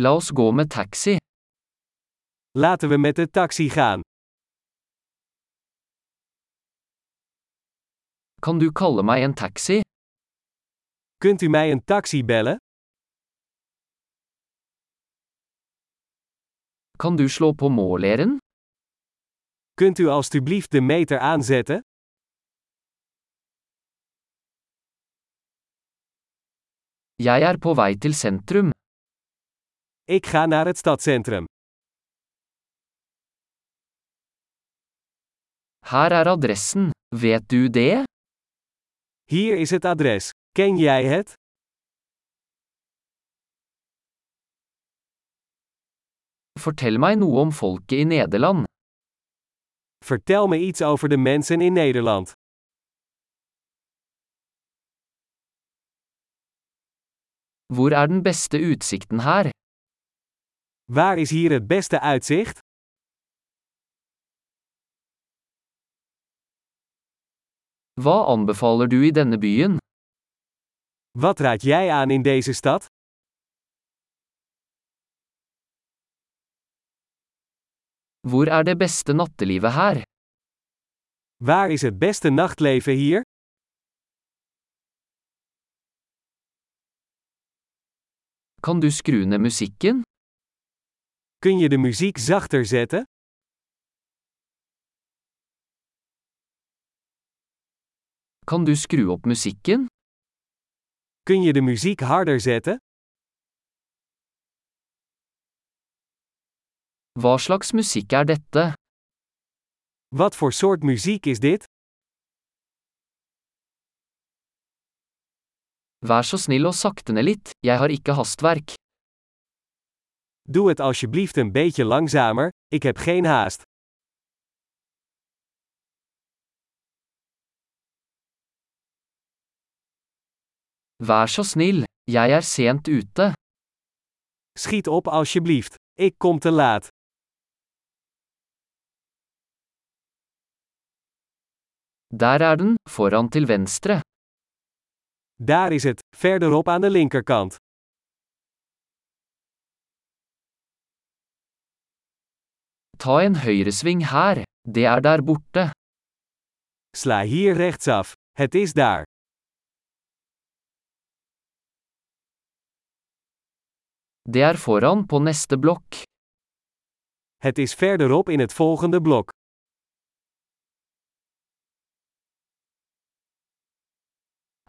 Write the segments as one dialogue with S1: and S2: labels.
S1: La oss gå med taxi.
S2: Laten we met de taxi gaan.
S1: Kan du kalle meg en taxi?
S2: Kunt u mij een taxi bellen?
S1: Kan du slå på måleren?
S2: Kunt u alstublieft de meter aanzetten?
S1: Jeg er på vei til sentrum.
S2: Ik ga naar het stadcentrum.
S1: Her er adressen. Vet du det?
S2: Hier is het adres. Ken jij het?
S1: Fortell meg noe om folket i Nederland.
S2: Vertel me iets over de mensen in Nederland.
S1: Hvor er den beste utsikten her?
S2: Waar is hier het beste uitzicht?
S1: Hva anbefaler du i denne byen?
S2: Wat raad jij aan in deze stad?
S1: Hvor er det beste nattelivet her?
S2: Waar is het beste nachtleven hier?
S1: Kan du skru ned musikken?
S2: Kun je de muziek zachter zetten?
S1: Kan du skru opp musikken?
S2: Kun je de muziek harder zetten?
S1: Hva slags musikk er dette?
S2: Wat voor soort muziek is dit?
S1: Vær så snill og sakte ned litt, jeg har ikke hastverk.
S2: Doe het alsjeblieft een beetje langzamer, ik heb geen haast.
S1: Vær så snill, jeg er sent ute.
S2: Schiet op alsjeblieft. Ik kom te laat.
S1: Der er den, foran til venstre.
S2: Daar is het, verderop aan de linkerkant.
S1: Ta en høyresving her, det er der borte.
S2: Sla hier rechtsaf. Het is daar.
S1: Det er foran på neste blokk.
S2: Het is verderop in het volgende blok.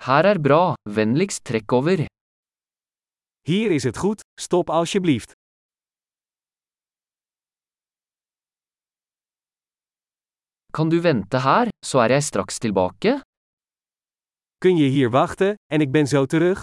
S1: Her er bra, vennligst trekk over.
S2: Hier is het goed, stop alsjeblieft.
S1: Kan du vente her, så er jeg straks tilbake?
S2: Kun je hier wachten, en ik ben zo terug?